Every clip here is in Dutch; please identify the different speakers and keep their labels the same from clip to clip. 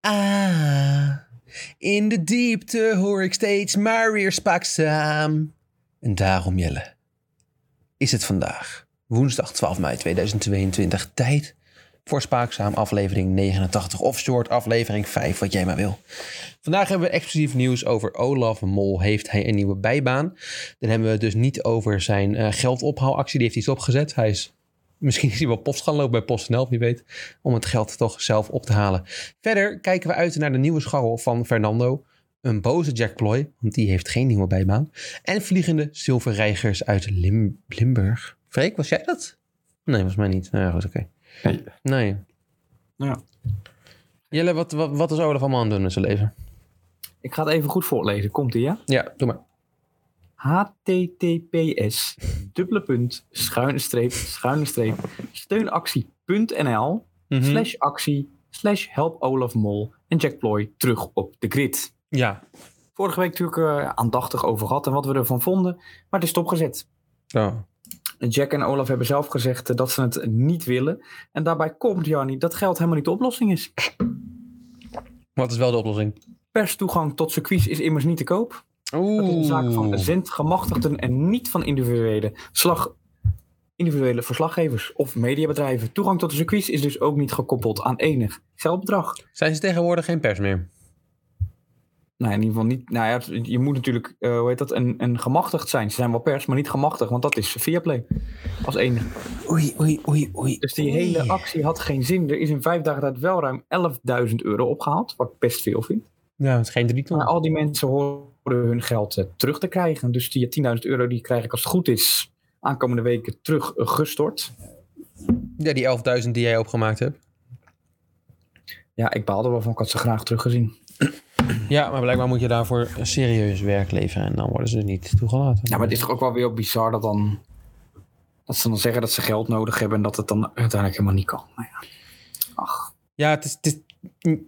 Speaker 1: Ah. In de diepte hoor ik steeds maar weer spaakzaam. En daarom, Jelle, is het vandaag, woensdag 12 mei 2022, tijd voor Spaakzaam, aflevering 89 of short aflevering 5, wat jij maar wil. Vandaag hebben we exclusief nieuws over Olaf Mol. Heeft hij een nieuwe bijbaan? Dan hebben we het dus niet over zijn eh, geldophaalactie. Die heeft hij opgezet. Hij is Misschien is hij wel post gaan lopen bij PostNL, wie weet. Om het geld toch zelf op te halen. Verder kijken we uit naar de nieuwe scharrel van Fernando. Een boze Jack Ploy, want die heeft geen nieuwe bijbaan. En vliegende zilverreigers uit Lim- Limburg. Freek, was jij dat? Nee, volgens mij niet. Nou ja, goed, oké.
Speaker 2: Nee.
Speaker 1: Nee.
Speaker 2: Nou,
Speaker 1: Jelle, wat, wat, wat is Olaf allemaal aan het doen in zijn leven?
Speaker 2: ik ga het even goed voorlezen. Komt ie, ja?
Speaker 1: Ja, doe maar.
Speaker 2: https dubbele punt schuine streep schuine streep steunactie.nl
Speaker 1: Mhm.
Speaker 2: slash actie slash help Olaf Mol en Jack Ploy terug op de grid.
Speaker 1: Ja.
Speaker 2: Vorige week natuurlijk eh, aandachtig over gehad en wat we ervan vonden, maar het is stopgezet.
Speaker 1: Oh.
Speaker 2: Jack en Olaf hebben zelf gezegd eh, dat ze het niet willen. En daarbij komt, Jannie, dat geld helemaal niet de oplossing is.
Speaker 1: Wat is wel de oplossing?
Speaker 2: Perstoegang tot circuits is immers niet te koop.
Speaker 1: Oeh.
Speaker 2: Dat is een zaak van zendgemachtigden en niet van individuele, slag, individuele verslaggevers of mediabedrijven. Toegang tot de circuits is dus ook niet gekoppeld aan enig geldbedrag.
Speaker 1: Zijn ze tegenwoordig geen pers meer?
Speaker 2: Nou, in ieder geval niet. Nou ja, je moet natuurlijk, eh, hoe heet dat, een, een gemachtigd zijn. Ze zijn wel pers, maar niet gemachtigd, want dat is Viaplay als enige.
Speaker 1: Oei, oei, oei, oei.
Speaker 2: Dus die hele actie had geen zin. Er is in vijf dagen tijd wel ruim 11.000 euro opgehaald, wat ik best veel vind.
Speaker 1: Ja, het is geen drie ton.
Speaker 2: Maar al die mensen horen hun geld eh, terug te krijgen. Dus die 10.000 euro die krijg ik als het goed is aankomende weken terug eh, gestort.
Speaker 1: Ja, die 11.000 die jij opgemaakt hebt.
Speaker 2: Ja, ik baalde wel van, ik had ze graag teruggezien.
Speaker 1: Ja, maar blijkbaar moet je daarvoor serieus werk leveren en dan worden ze niet toegelaten.
Speaker 2: Ja, maar het is toch ook wel weer bizar dat dan... Dat ze dan zeggen dat ze geld nodig hebben en dat het dan uiteindelijk helemaal niet kan. Maar ja. Ach,
Speaker 1: Ja, het is, het is-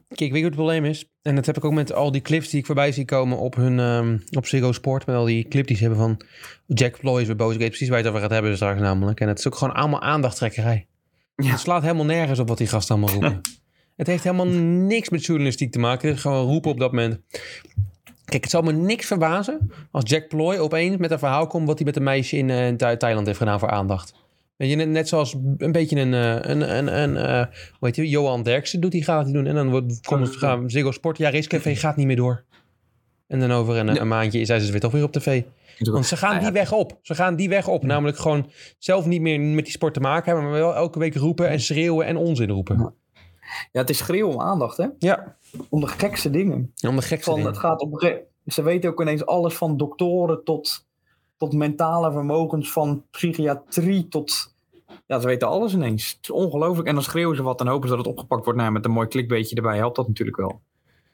Speaker 1: Kijk, weet je wat het probleem is? En dat heb ik ook met al die clips die ik voorbij zie komen op hun... ehm, op Ziggo Sport, met al die clip die ze hebben van... Jack Ploy is weer boos. Ik weet precies waar je het over gaat hebben straks namelijk. En het is ook gewoon allemaal aandachttrekkerij.
Speaker 2: Ja.
Speaker 1: Het slaat helemaal nergens op wat die gasten allemaal roepen. het heeft helemaal niks met journalistiek te maken. Het is gewoon roepen op dat moment. Kijk, het zal me niks verbazen als Jack Ploy opeens met een verhaal komt... wat hij met een meisje in eh, Tha- Thailand heeft gedaan voor aandacht. Weet je, net, net zoals een beetje een, eh, een, een, een eh, hoe heet je, Johan Derksen doet, die gaat het doen. En dan wordt, komt het, gaan, Ziggo Sport, ja, Racecafé gaat niet meer door. En dan over een, een maandje is hij dus weer toch weer op tv. Want ze gaan
Speaker 2: Nou ja.
Speaker 1: die weg op. Ze gaan die weg op. Namelijk gewoon zelf niet meer met die sport te maken hebben, maar wel elke week roepen en schreeuwen en onzin roepen.
Speaker 2: ja, het is schreeuw om aandacht, hè?
Speaker 1: Ja,
Speaker 2: Om de gekste dingen.
Speaker 1: om de gekste
Speaker 2: Van, het
Speaker 1: dingen.
Speaker 2: gaat op, een gege- ze weten ook ineens alles van doktoren tot, tot mentale vermogens, van psychiatrie tot. Ja, ze weten alles ineens. Het is ongelooflijk. En dan schreeuwen ze wat en hopen ze dat het opgepakt wordt. Nou, met een mooi klikbeetje erbij helpt dat natuurlijk wel.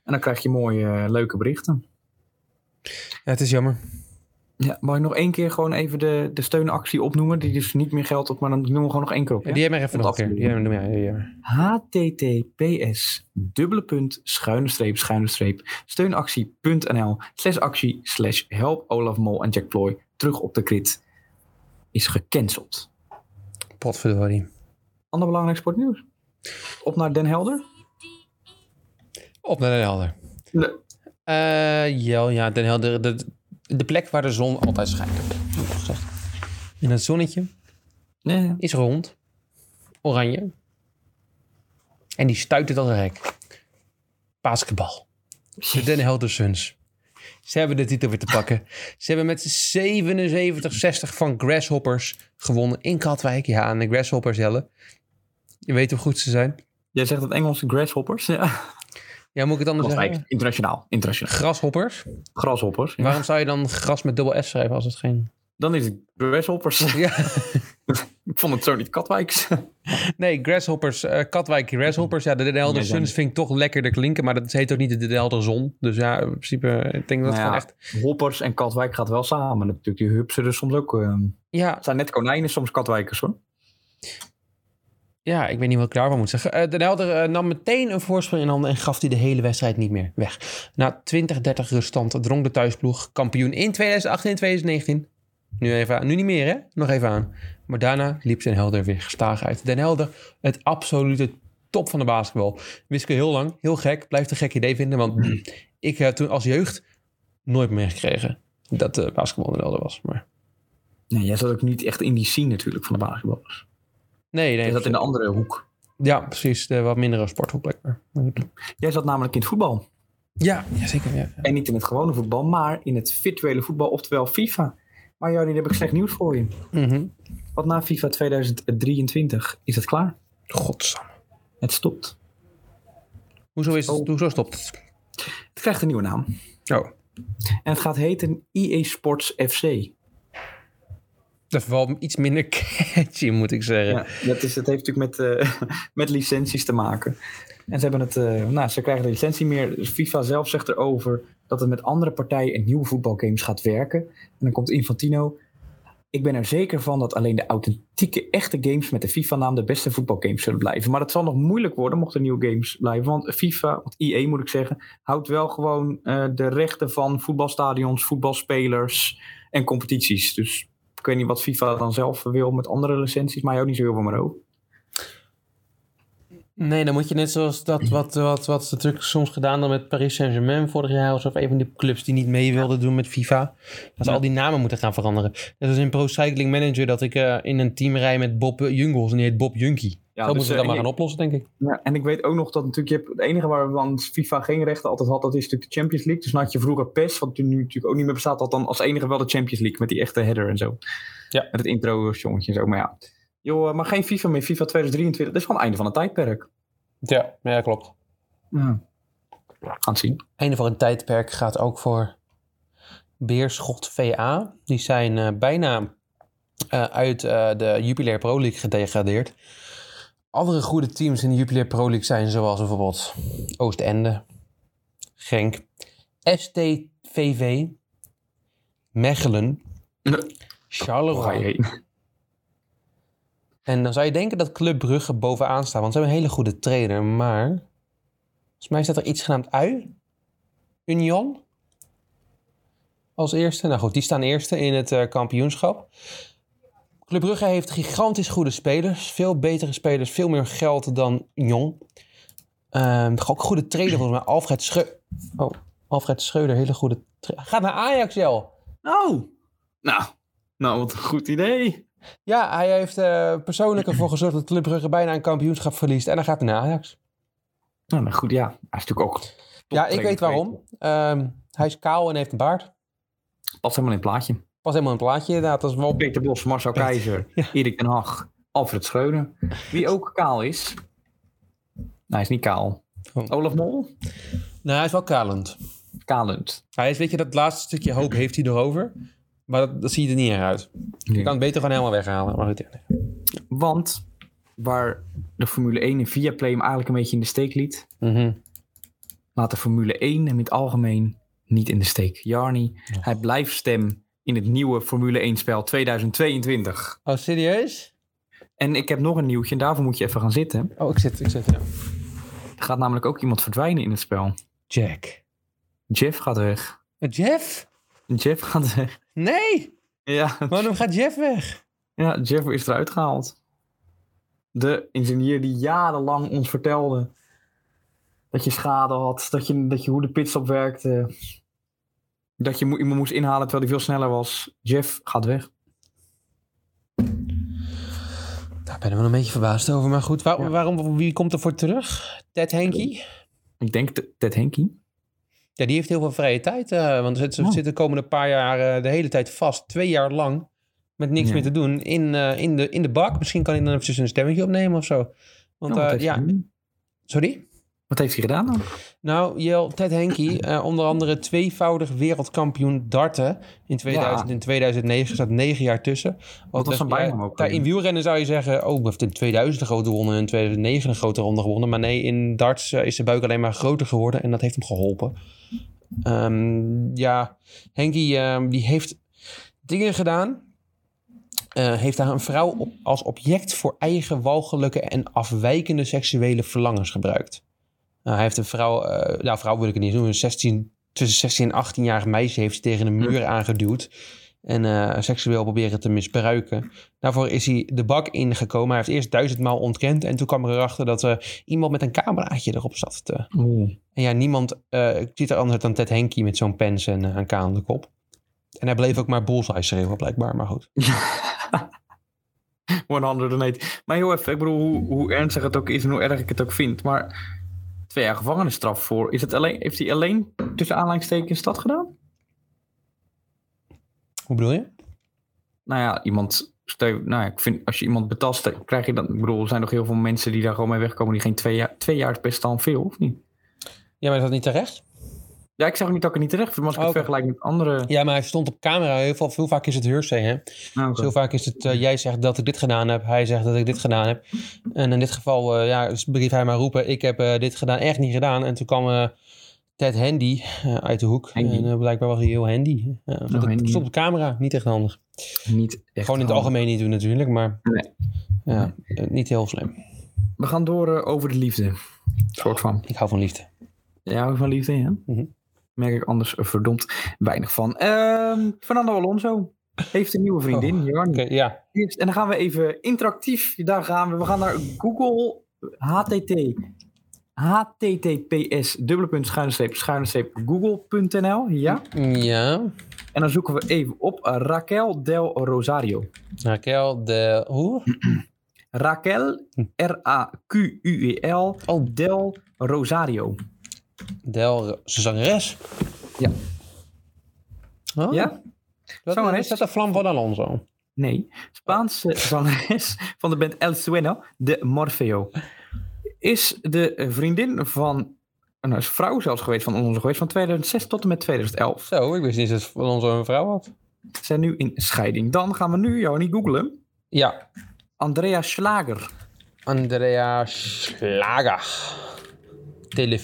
Speaker 2: En dan krijg je mooie, eh, leuke berichten.
Speaker 1: Ja, het is jammer.
Speaker 2: Ja, mag ik nog één keer gewoon even de, de steunactie opnoemen? Die dus niet meer geldt, maar dan noemen we gewoon nog één keer op.
Speaker 1: Ja,
Speaker 2: hè?
Speaker 1: die hebben we even nog een keer.
Speaker 2: Absoluut.
Speaker 1: Die hebben we- ja, ja, ja.
Speaker 2: https dubbele punt schuine streep schuine streep steunactie.nl slash actie slash help Olaf Mol en Jack Ploy terug op de krit is gecanceld.
Speaker 1: Potverdorie.
Speaker 2: Ander belangrijk sportnieuws. Op naar Den Helder.
Speaker 1: Op naar Den Helder.
Speaker 2: Nee.
Speaker 1: Eh, ja, ja, Den Helder. De, de plek waar de zon altijd schijnt. heb ik al gezegd. En het zonnetje
Speaker 2: Nee.
Speaker 1: is rond. Oranje. En die stuit het als een gek. Basketbal. De Den Helder Suns. Ze hebben de titel weer te pakken. Ze hebben met 77-60 van Grasshoppers gewonnen in Katwijk. Ja, aan de Grasshoppers Jelle. Je weet hoe goed ze zijn.
Speaker 2: Jij zegt het Engels grasshoppers. Ja.
Speaker 1: Ja, moet ik het anders
Speaker 2: Dat is
Speaker 1: zeggen?
Speaker 2: eigenlijk internationaal. Internationaal.
Speaker 1: Grasshoppers?
Speaker 2: Grasshoppers. ja.
Speaker 1: Waarom zou je dan gras met dubbel S schrijven als het geen...
Speaker 2: Dan is het grasshoppers.
Speaker 1: Ja.
Speaker 2: Ik vond het zo niet Katwijks.
Speaker 1: Nee, Grasshoppers, eh, Katwijk Grasshoppers. Ja, de Den Helder
Speaker 2: Nee, zijn
Speaker 1: Suns vind ik toch lekkerder klinken. Maar dat heet ook niet de Den Helder Zon. Dus ja, in principe, ik denk dat het
Speaker 2: Nou ja.
Speaker 1: gewoon echt...
Speaker 2: Hoppers en Katwijk gaat wel samen. Natuurlijk, die hupsen er soms ook. eh,
Speaker 1: Ja,
Speaker 2: Het zijn net konijnen, soms Katwijkers hoor.
Speaker 1: Ja, ik weet niet wat ik daarvan moet zeggen. Eh, Den Helder eh, nam meteen een voorsprong in handen en gaf die de hele wedstrijd niet meer weg. Na 20-30 ruststand drong de thuisploeg kampioen in 2018 en 2019. Nu, even, aan- nu niet meer, hè? Nog even aan. Maar daarna liep Den Helder weer gestaag uit. Den Helder, het absolute top van de basketbal. Wist ik heel lang, heel gek. Blijft een gek idee vinden, want Ik heb toen als jeugd nooit meer gekregen dat eh basketbal een helder was. Maar
Speaker 2: Nee, jij zat ook niet echt in die scene natuurlijk van de basketballers.
Speaker 1: nee, nee.
Speaker 2: Jij zat in de andere hoek.
Speaker 1: Ja, precies. De wat mindere sporthoek blijkbaar. Maar goed.
Speaker 2: Jij zat namelijk in het voetbal.
Speaker 1: Ja, ja zeker. Ja.
Speaker 2: En niet in het gewone voetbal, maar in het virtuele voetbal, oftewel FIFA. Maar Jordi, daar heb ik slecht nieuws voor je.
Speaker 1: Mhm.
Speaker 2: Want na FIFA 2023 is het klaar.
Speaker 1: Godsamme.
Speaker 2: Het stopt.
Speaker 1: Hoezo, is het,
Speaker 2: Oh.
Speaker 1: hoezo stopt het?
Speaker 2: Het krijgt een nieuwe naam.
Speaker 1: Oh,
Speaker 2: En het gaat heten EA Sports FC.
Speaker 1: dat valt me iets minder catchy, moet ik zeggen.
Speaker 2: Ja, dat, is, dat heeft natuurlijk met, eh, met licenties te maken. En ze, hebben het, eh, nou, ze krijgen de licentie meer. FIFA zelf zegt erover dat het met andere partijen en nieuwe voetbalgames gaat werken. En dan komt Infantino. Ik ben er zeker van dat alleen de authentieke, echte games met de FIFA-naam de beste voetbalgames zullen blijven. Maar dat zal nog moeilijk worden mochten nieuwe games blijven. Want FIFA, want EA moet ik zeggen, houdt wel gewoon eh, de rechten van voetbalstadions, voetbalspelers en competities. Dus ik weet niet wat FIFA dan zelf wil met andere licenties, maar hij houdt niet zo heel veel meer over.
Speaker 1: Nee, dan moet je net zoals dat wat, wat, wat ze natuurlijk soms gedaan dan met Paris Saint-Germain vorig jaar of zo, of een van die clubs die niet mee wilden doen met FIFA. Dat ze
Speaker 2: Ja.
Speaker 1: al die namen moeten gaan veranderen. Net als in Pro Cycling Manager dat ik eh, in een team rij met Bob eh, Jungels en die heet Bob Junkie.
Speaker 2: Ja,
Speaker 1: zo
Speaker 2: dus,
Speaker 1: moeten we dat
Speaker 2: eh,
Speaker 1: maar
Speaker 2: je-
Speaker 1: gaan oplossen, denk ik.
Speaker 2: Ja, en ik weet ook nog dat natuurlijk, je hebt, het enige waarvan FIFA geen rechten altijd had, dat is natuurlijk de Champions League. Dus dan had je vroeger PES, wat nu natuurlijk ook niet meer bestaat, had dan als enige wel de Champions League met die echte header en zo.
Speaker 1: Ja.
Speaker 2: Met het intro jongetje en zo, maar ja. Joh, eh, maar geen FIFA meer, FIFA 2023, dat is gewoon het einde van het tijdperk.
Speaker 1: Ja, ja klopt.
Speaker 2: Ja. Gaan het zien.
Speaker 1: Einde van een tijdperk gaat ook voor Beerschot VA. Die zijn eh, bijna eh, uit eh, de Jupiler Pro League gedegradeerd. Andere goede teams in de Jupiler Pro League zijn zoals bijvoorbeeld Oostende, Genk, STVV, Mechelen,
Speaker 2: Waar ga je
Speaker 1: Charleroi.
Speaker 2: heen?
Speaker 1: En dan zou je denken dat Club Brugge bovenaan staat, want ze hebben een hele goede trainer. Maar volgens mij staat er iets genaamd Ui, Union, als eerste. Nou goed, die staan eerste in het eh, kampioenschap. Club Brugge heeft gigantisch goede spelers, veel betere spelers, veel meer geld dan Union. Ehm, ook een goede trainer volgens mij, Alfred Schreuder. Oh, Alfred Schreuder, hele goede trainer. Gaat naar Ajax, Jel.
Speaker 2: Oh! Nou, nou, wat een goed idee.
Speaker 1: Ja, hij heeft eh, persoonlijk ervoor gezorgd dat Club Brugge bijna een kampioenschap verliest. En dan gaat hij naar Ajax.
Speaker 2: Nou, nou goed, ja. Hij is natuurlijk ook...
Speaker 1: Ja, ik weet waarom. Ehm, hij is kaal en heeft een baard.
Speaker 2: Past helemaal in het plaatje.
Speaker 1: Pas helemaal een plaatje inderdaad. Dat is wel...
Speaker 2: Peter Bos, Marcel
Speaker 1: Peter,
Speaker 2: Keizer, Erik Den Hag, Alfred Schreuder. Wie ook kaal is. Nou, hij is niet kaal.
Speaker 1: Oh.
Speaker 2: Olaf Mol?
Speaker 1: Nou, hij is wel kalend.
Speaker 2: Kalend.
Speaker 1: Hij is, weet je, dat laatste stukje hoop heeft hij erover. Maar dat, dat zie je er niet uit. Je kan het beter gewoon helemaal weghalen. Maar goed, ja, nee.
Speaker 2: Want waar de Formule 1 en Viaplay hem eigenlijk een beetje in de steek liet,
Speaker 1: Mhm.
Speaker 2: laat de Formule 1 hem in het algemeen niet in de steek. Jarni, hij blijft stem in het nieuwe Formule 1 spel 2022.
Speaker 1: Oh, serieus?
Speaker 2: En ik heb nog een nieuwtje en daarvoor moet je even gaan zitten.
Speaker 1: Oh, ik zit, ik zit, ja.
Speaker 2: Er gaat namelijk ook iemand verdwijnen in het spel.
Speaker 1: Jack.
Speaker 2: Jeff gaat weg.
Speaker 1: Eh, Jeff?
Speaker 2: Jeff gaat weg.
Speaker 1: Nee!
Speaker 2: Ja,
Speaker 1: Waarom gaat Jeff weg?
Speaker 2: Ja, Jeff is eruit gehaald. De ingenieur die jarenlang ons vertelde dat je schade had, dat je, dat je hoe de pitstop werkte, dat je mo- iemand moest inhalen terwijl hij veel sneller was. Jeff gaat weg.
Speaker 1: Daar ben ik wel een beetje verbaasd over. Maar goed, waar- waarom, wie komt er voor terug? Ted Henkie?
Speaker 2: Ik denk T- Ted Henkie.
Speaker 1: Ja, die heeft heel veel vrije tijd. eh, want ze ze
Speaker 2: Oh.
Speaker 1: zitten de komende paar jaar eh, de hele tijd vast. Twee jaar lang. Met niks
Speaker 2: Ja.
Speaker 1: meer te doen. In, eh, in, de, in de bak. Misschien kan hij dan eventjes een stemmetje opnemen of zo. Want
Speaker 2: Oh, wat,
Speaker 1: eh,
Speaker 2: heeft
Speaker 1: ja,
Speaker 2: hij gedaan?
Speaker 1: sorry.
Speaker 2: wat heeft hij gedaan dan?
Speaker 1: Nou, Jel, Ted Henkie, eh, onder andere tweevoudig wereldkampioen darten. In 2000 en 2009 er staat negen jaar tussen. Wat
Speaker 2: was
Speaker 1: betreft,
Speaker 2: zijn bijnaam
Speaker 1: ja,
Speaker 2: ook
Speaker 1: daar
Speaker 2: alweer?
Speaker 1: in wielrennen zou je zeggen, oh, hij heeft in 2000 een grote ronde en in 2009 een grote ronde gewonnen. Maar nee, in darts eh, is de buik alleen maar groter geworden en dat heeft hem geholpen. Ehm, ja, Henkie ehm, die heeft dingen gedaan. Eh, heeft daar een vrouw op, als object voor eigen walgelijke en afwijkende seksuele verlangens gebruikt. Nou, hij heeft een vrouw, eh,
Speaker 2: Hm.
Speaker 1: nou vrouw wil ik het niet noemen, een 16, tussen 16 en 18 jarig meisje heeft ze tegen een muur aangeduwd. en eh, seksueel proberen te misbruiken. Daarvoor is hij de bak ingekomen. Hij heeft eerst duizendmaal ontkend en toen kwam er erachter dat er iemand met een cameraatje erop zat. Te...
Speaker 2: Oeh.
Speaker 1: En ja, niemand eh, ziet er anders uit dan Ted Henke met zo'n pens en eh, een kaal aan de kop. En hij bleef ook maar bullseye schreeuwen blijkbaar, maar goed.
Speaker 2: 108. Maar heel even, ik bedoel, hoe, hoe ernstig het ook is en hoe erg ik het ook vind. Maar twee jaar gevangenisstraf voor. Is het alleen, heeft hij alleen tussen aanleidingstekens dat gedaan?
Speaker 1: Hoe bedoel je?
Speaker 2: Nou ja, iemand. stel- Nou ja, ik vind als je iemand betast, dan krijg je dan. Ik bedoel, er zijn nog heel veel mensen die daar gewoon mee wegkomen. die geen twee jaar. Twee jaar is best dan veel, of niet?
Speaker 1: Ja, maar is dat niet terecht?
Speaker 2: Ja, ik zeg ook niet dat ik het niet terecht vind, maar als
Speaker 1: Oh,
Speaker 2: ik
Speaker 1: Oké.
Speaker 2: het vergelijk met andere.
Speaker 1: Ja, maar hij stond op camera. Heel, veel, heel vaak is het hearsay, hè?
Speaker 2: Nou, oké.
Speaker 1: Zo vaak is het, eh, jij zegt dat ik dit gedaan heb, hij zegt dat ik dit gedaan heb. En in dit geval, eh ja, brief hij maar roepen, ik heb eh, dit gedaan, echt niet gedaan. En toen kwam eh, Ted Handy eh, uit de hoek.
Speaker 2: Handy. Oh,
Speaker 1: En eh, blijkbaar was hij heel handy. Ja, want het
Speaker 2: handy.
Speaker 1: stond op camera, niet echt handig.
Speaker 2: niet echt
Speaker 1: Gewoon in het
Speaker 2: handig.
Speaker 1: algemeen niet doen natuurlijk, maar
Speaker 2: Nee.
Speaker 1: ja, eh, niet heel slim.
Speaker 2: We gaan door eh, over de liefde. Soort van.
Speaker 1: Ik hou van liefde.
Speaker 2: Ja, ook van liefde, ja.
Speaker 1: Mhm.
Speaker 2: Merk ik anders verdomd weinig van. Ehm, Fernando Alonso heeft een nieuwe vriendin,
Speaker 1: Oh,
Speaker 2: Jarni.
Speaker 1: Oké, ja,
Speaker 2: Eerst- En dan gaan we even interactief, daar gaan we. We gaan naar Google HTT. HTTPS, dubbele punt, schuine streep, schuine streep, google.nl. Ja.
Speaker 1: ja.
Speaker 2: En dan zoeken we even op Raquel Del Rosario.
Speaker 1: Raquel de... Hoe?
Speaker 2: Raquel, R-A-Q-U-E-L,
Speaker 1: Hm. Oh,
Speaker 2: E Del Rosario.
Speaker 1: Del... Ze zangeres.
Speaker 2: Ja.
Speaker 1: Oh,
Speaker 2: Ja?
Speaker 1: dat-
Speaker 2: zangeres.
Speaker 1: Is dat de vlam van Alonso?
Speaker 2: Nee. Spaanse zangeres van de band El Sueno de Morfeo. Is de vriendin van, nou is vrouw zelfs geweest van onze geweest, van 2006 tot en met 2011.
Speaker 1: Zo, ik wist niet eens dat Alonso een vrouw had.
Speaker 2: Ze zijn nu in scheiding. Dan gaan we nu, jou niet googlen,
Speaker 1: Ja,
Speaker 2: Andrea Schlager.
Speaker 1: Andrea Schlager.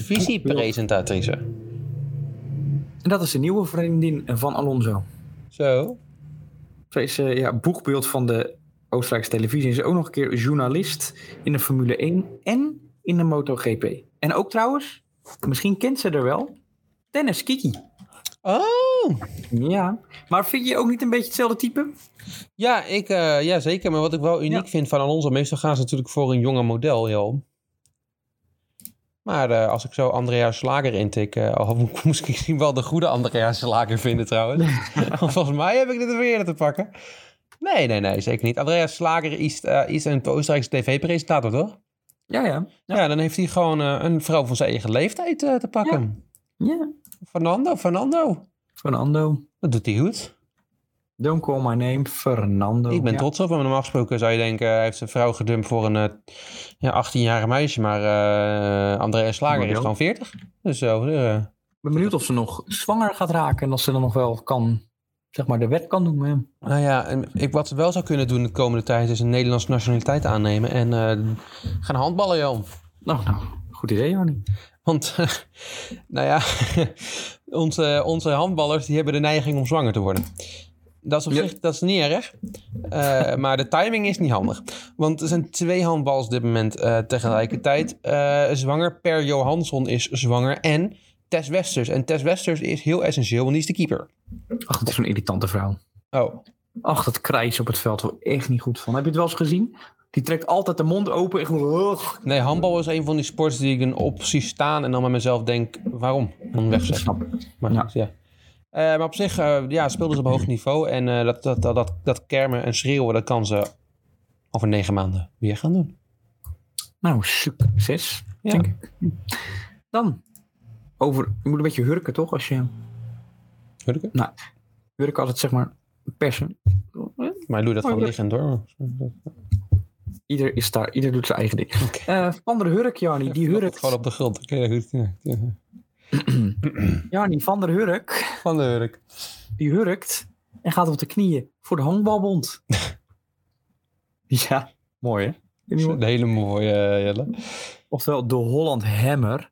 Speaker 1: Televisiepresentatrice.
Speaker 2: En dat is de nieuwe vriendin van Alonso.
Speaker 1: Zo.
Speaker 2: Ze is eh, ja, boegbeeld van de Oostenrijkse televisie. Ze is ook nog een keer journalist in de Formule 1 en in de MotoGP. En ook trouwens, misschien kent ze er wel, Dennis Kiki.
Speaker 1: Oh!
Speaker 2: Ja, maar vind je ook niet een beetje hetzelfde type?
Speaker 1: Ja, ik, eh, ja, zeker. Maar wat ik wel uniek vind van Alonso... meestal gaan ze natuurlijk voor een jonge model, joh. Maar eh, als ik zo Andrea Slager intik... eh oh, moet ik misschien wel de goede Andrea Slager vinden trouwens. Want volgens mij heb ik dit weer te pakken. Nee, nee, nee, zeker niet. Andrea Slager is, eh, is een Oostenrijkse tv-presentator, toch?
Speaker 2: Ja, ja.
Speaker 1: Ja. dan heeft hij gewoon eh, een vrouw van zijn eigen leeftijd eh, te pakken.
Speaker 2: Ja.
Speaker 1: Fernando, Fernando.
Speaker 2: Fernando.
Speaker 1: Dat doet hij goed.
Speaker 2: Don't call my name Fernando.
Speaker 1: ik ben
Speaker 2: Ja.
Speaker 1: trots op hem. Normaal gesproken zou je denken, hij heeft zijn vrouw gedumpt voor een eh, ja, 18-jarige meisje. Maar eh André Slager
Speaker 2: Model.
Speaker 1: is gewoon 40. Dus zo. eh,
Speaker 2: Ik ben benieuwd of ze nog zwanger gaat raken en of ze dan nog wel kan, zeg maar, de wet kan doen. hè.
Speaker 1: nou ja, en ik, wat ze wel zou kunnen doen de komende tijd is een Nederlandse nationaliteit aannemen. En eh, gaan handballen, joh.
Speaker 2: Nou, nou, goed idee, Jarnie.
Speaker 1: Want, nou ja, onze, onze handballers die hebben de neiging om zwanger te worden. Dat is op
Speaker 2: Ja.
Speaker 1: zich dat is niet erg, Eh, maar de timing is niet handig. Want er zijn twee handballers op dit moment eh, tegelijkertijd eh, zwanger. Per Johansson is zwanger en Tess Westers. En Tess Westers is heel essentieel, want die is de keeper.
Speaker 2: Ach, dat is zo'n irritante vrouw.
Speaker 1: Oh,
Speaker 2: Ach, dat krijs op het veld, word ik echt niet goed van. Heb je het wel eens gezien? Die trekt altijd de mond open en gewoon... "Ugh."
Speaker 1: nee, handbal is een van die sports die ik een op zie staan en dan bij mezelf denk, waarom? Dan
Speaker 2: Ik
Speaker 1: wegzet.
Speaker 2: snap het.
Speaker 1: Maar,
Speaker 2: Ja.
Speaker 1: goed, ja. Eh, maar op zich eh, ja, speelden ze op hoog niveau. En eh, dat, dat, dat, dat, dat kermen en schreeuwen, dat kan ze over negen maanden weer gaan doen.
Speaker 2: Nou, succes,
Speaker 1: Ja.
Speaker 2: denk ik. Dan, over... Je moet een beetje hurken, toch? Als je
Speaker 1: Weet ik het?
Speaker 2: hurken altijd, zeg maar, persen.
Speaker 1: Maar doe dat
Speaker 2: Oh,
Speaker 1: gewoon
Speaker 2: ja.
Speaker 1: liggend hoor.
Speaker 2: Ieder is daar, ieder doet zijn eigen ding. Eh, van der Hurk, Jarnie, die hurkt.
Speaker 1: Gewoon op de grond. eh, Oké, ja, goed. Ja, ja.
Speaker 2: Jarnie, van der Hurk,
Speaker 1: Van de hurk.
Speaker 2: die hurkt en gaat op de knieën voor de honkbalbond. ja, mooi hè?
Speaker 1: Dat is Een hele mooie eh, Jelle.
Speaker 2: Oftewel de Holland Hammer,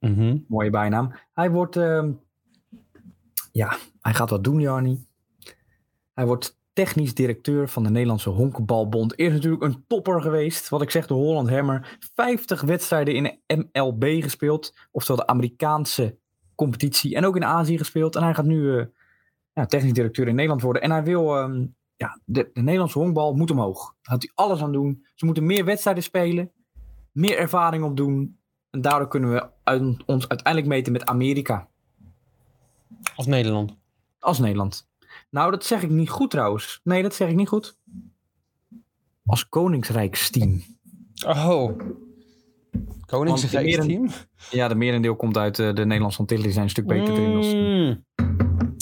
Speaker 1: Mhm.
Speaker 2: mooie bijnaam. Hij wordt, ehm, ja, hij gaat wat doen, Jarnie. Hij wordt technisch directeur van de Nederlandse Honkbalbond. Eerst natuurlijk een topper geweest, wat ik zeg, de Holland Hammer. 50 wedstrijden in de MLB gespeeld, oftewel de Amerikaanse competitie. En ook in Azië gespeeld. En hij gaat nu eh, ja, technisch directeur in Nederland worden. En hij wil, ehm, ja, de, de Nederlandse honkbal moet omhoog. Daar gaat hij alles aan doen. Ze moeten meer wedstrijden spelen, meer ervaring opdoen. En daardoor kunnen we uit- ons uiteindelijk meten met Amerika
Speaker 1: Als Nederland.
Speaker 2: als Nederland. Nou, dat zeg ik niet goed trouwens. Nee, dat zeg ik niet goed. Als Koningsrijksteam.
Speaker 1: Oh. Koningsrijksteam?
Speaker 2: Ja, de merendeel komt uit eh, de Nederlandse Antillen. Die zijn een stuk beter erin. als-
Speaker 1: Mm.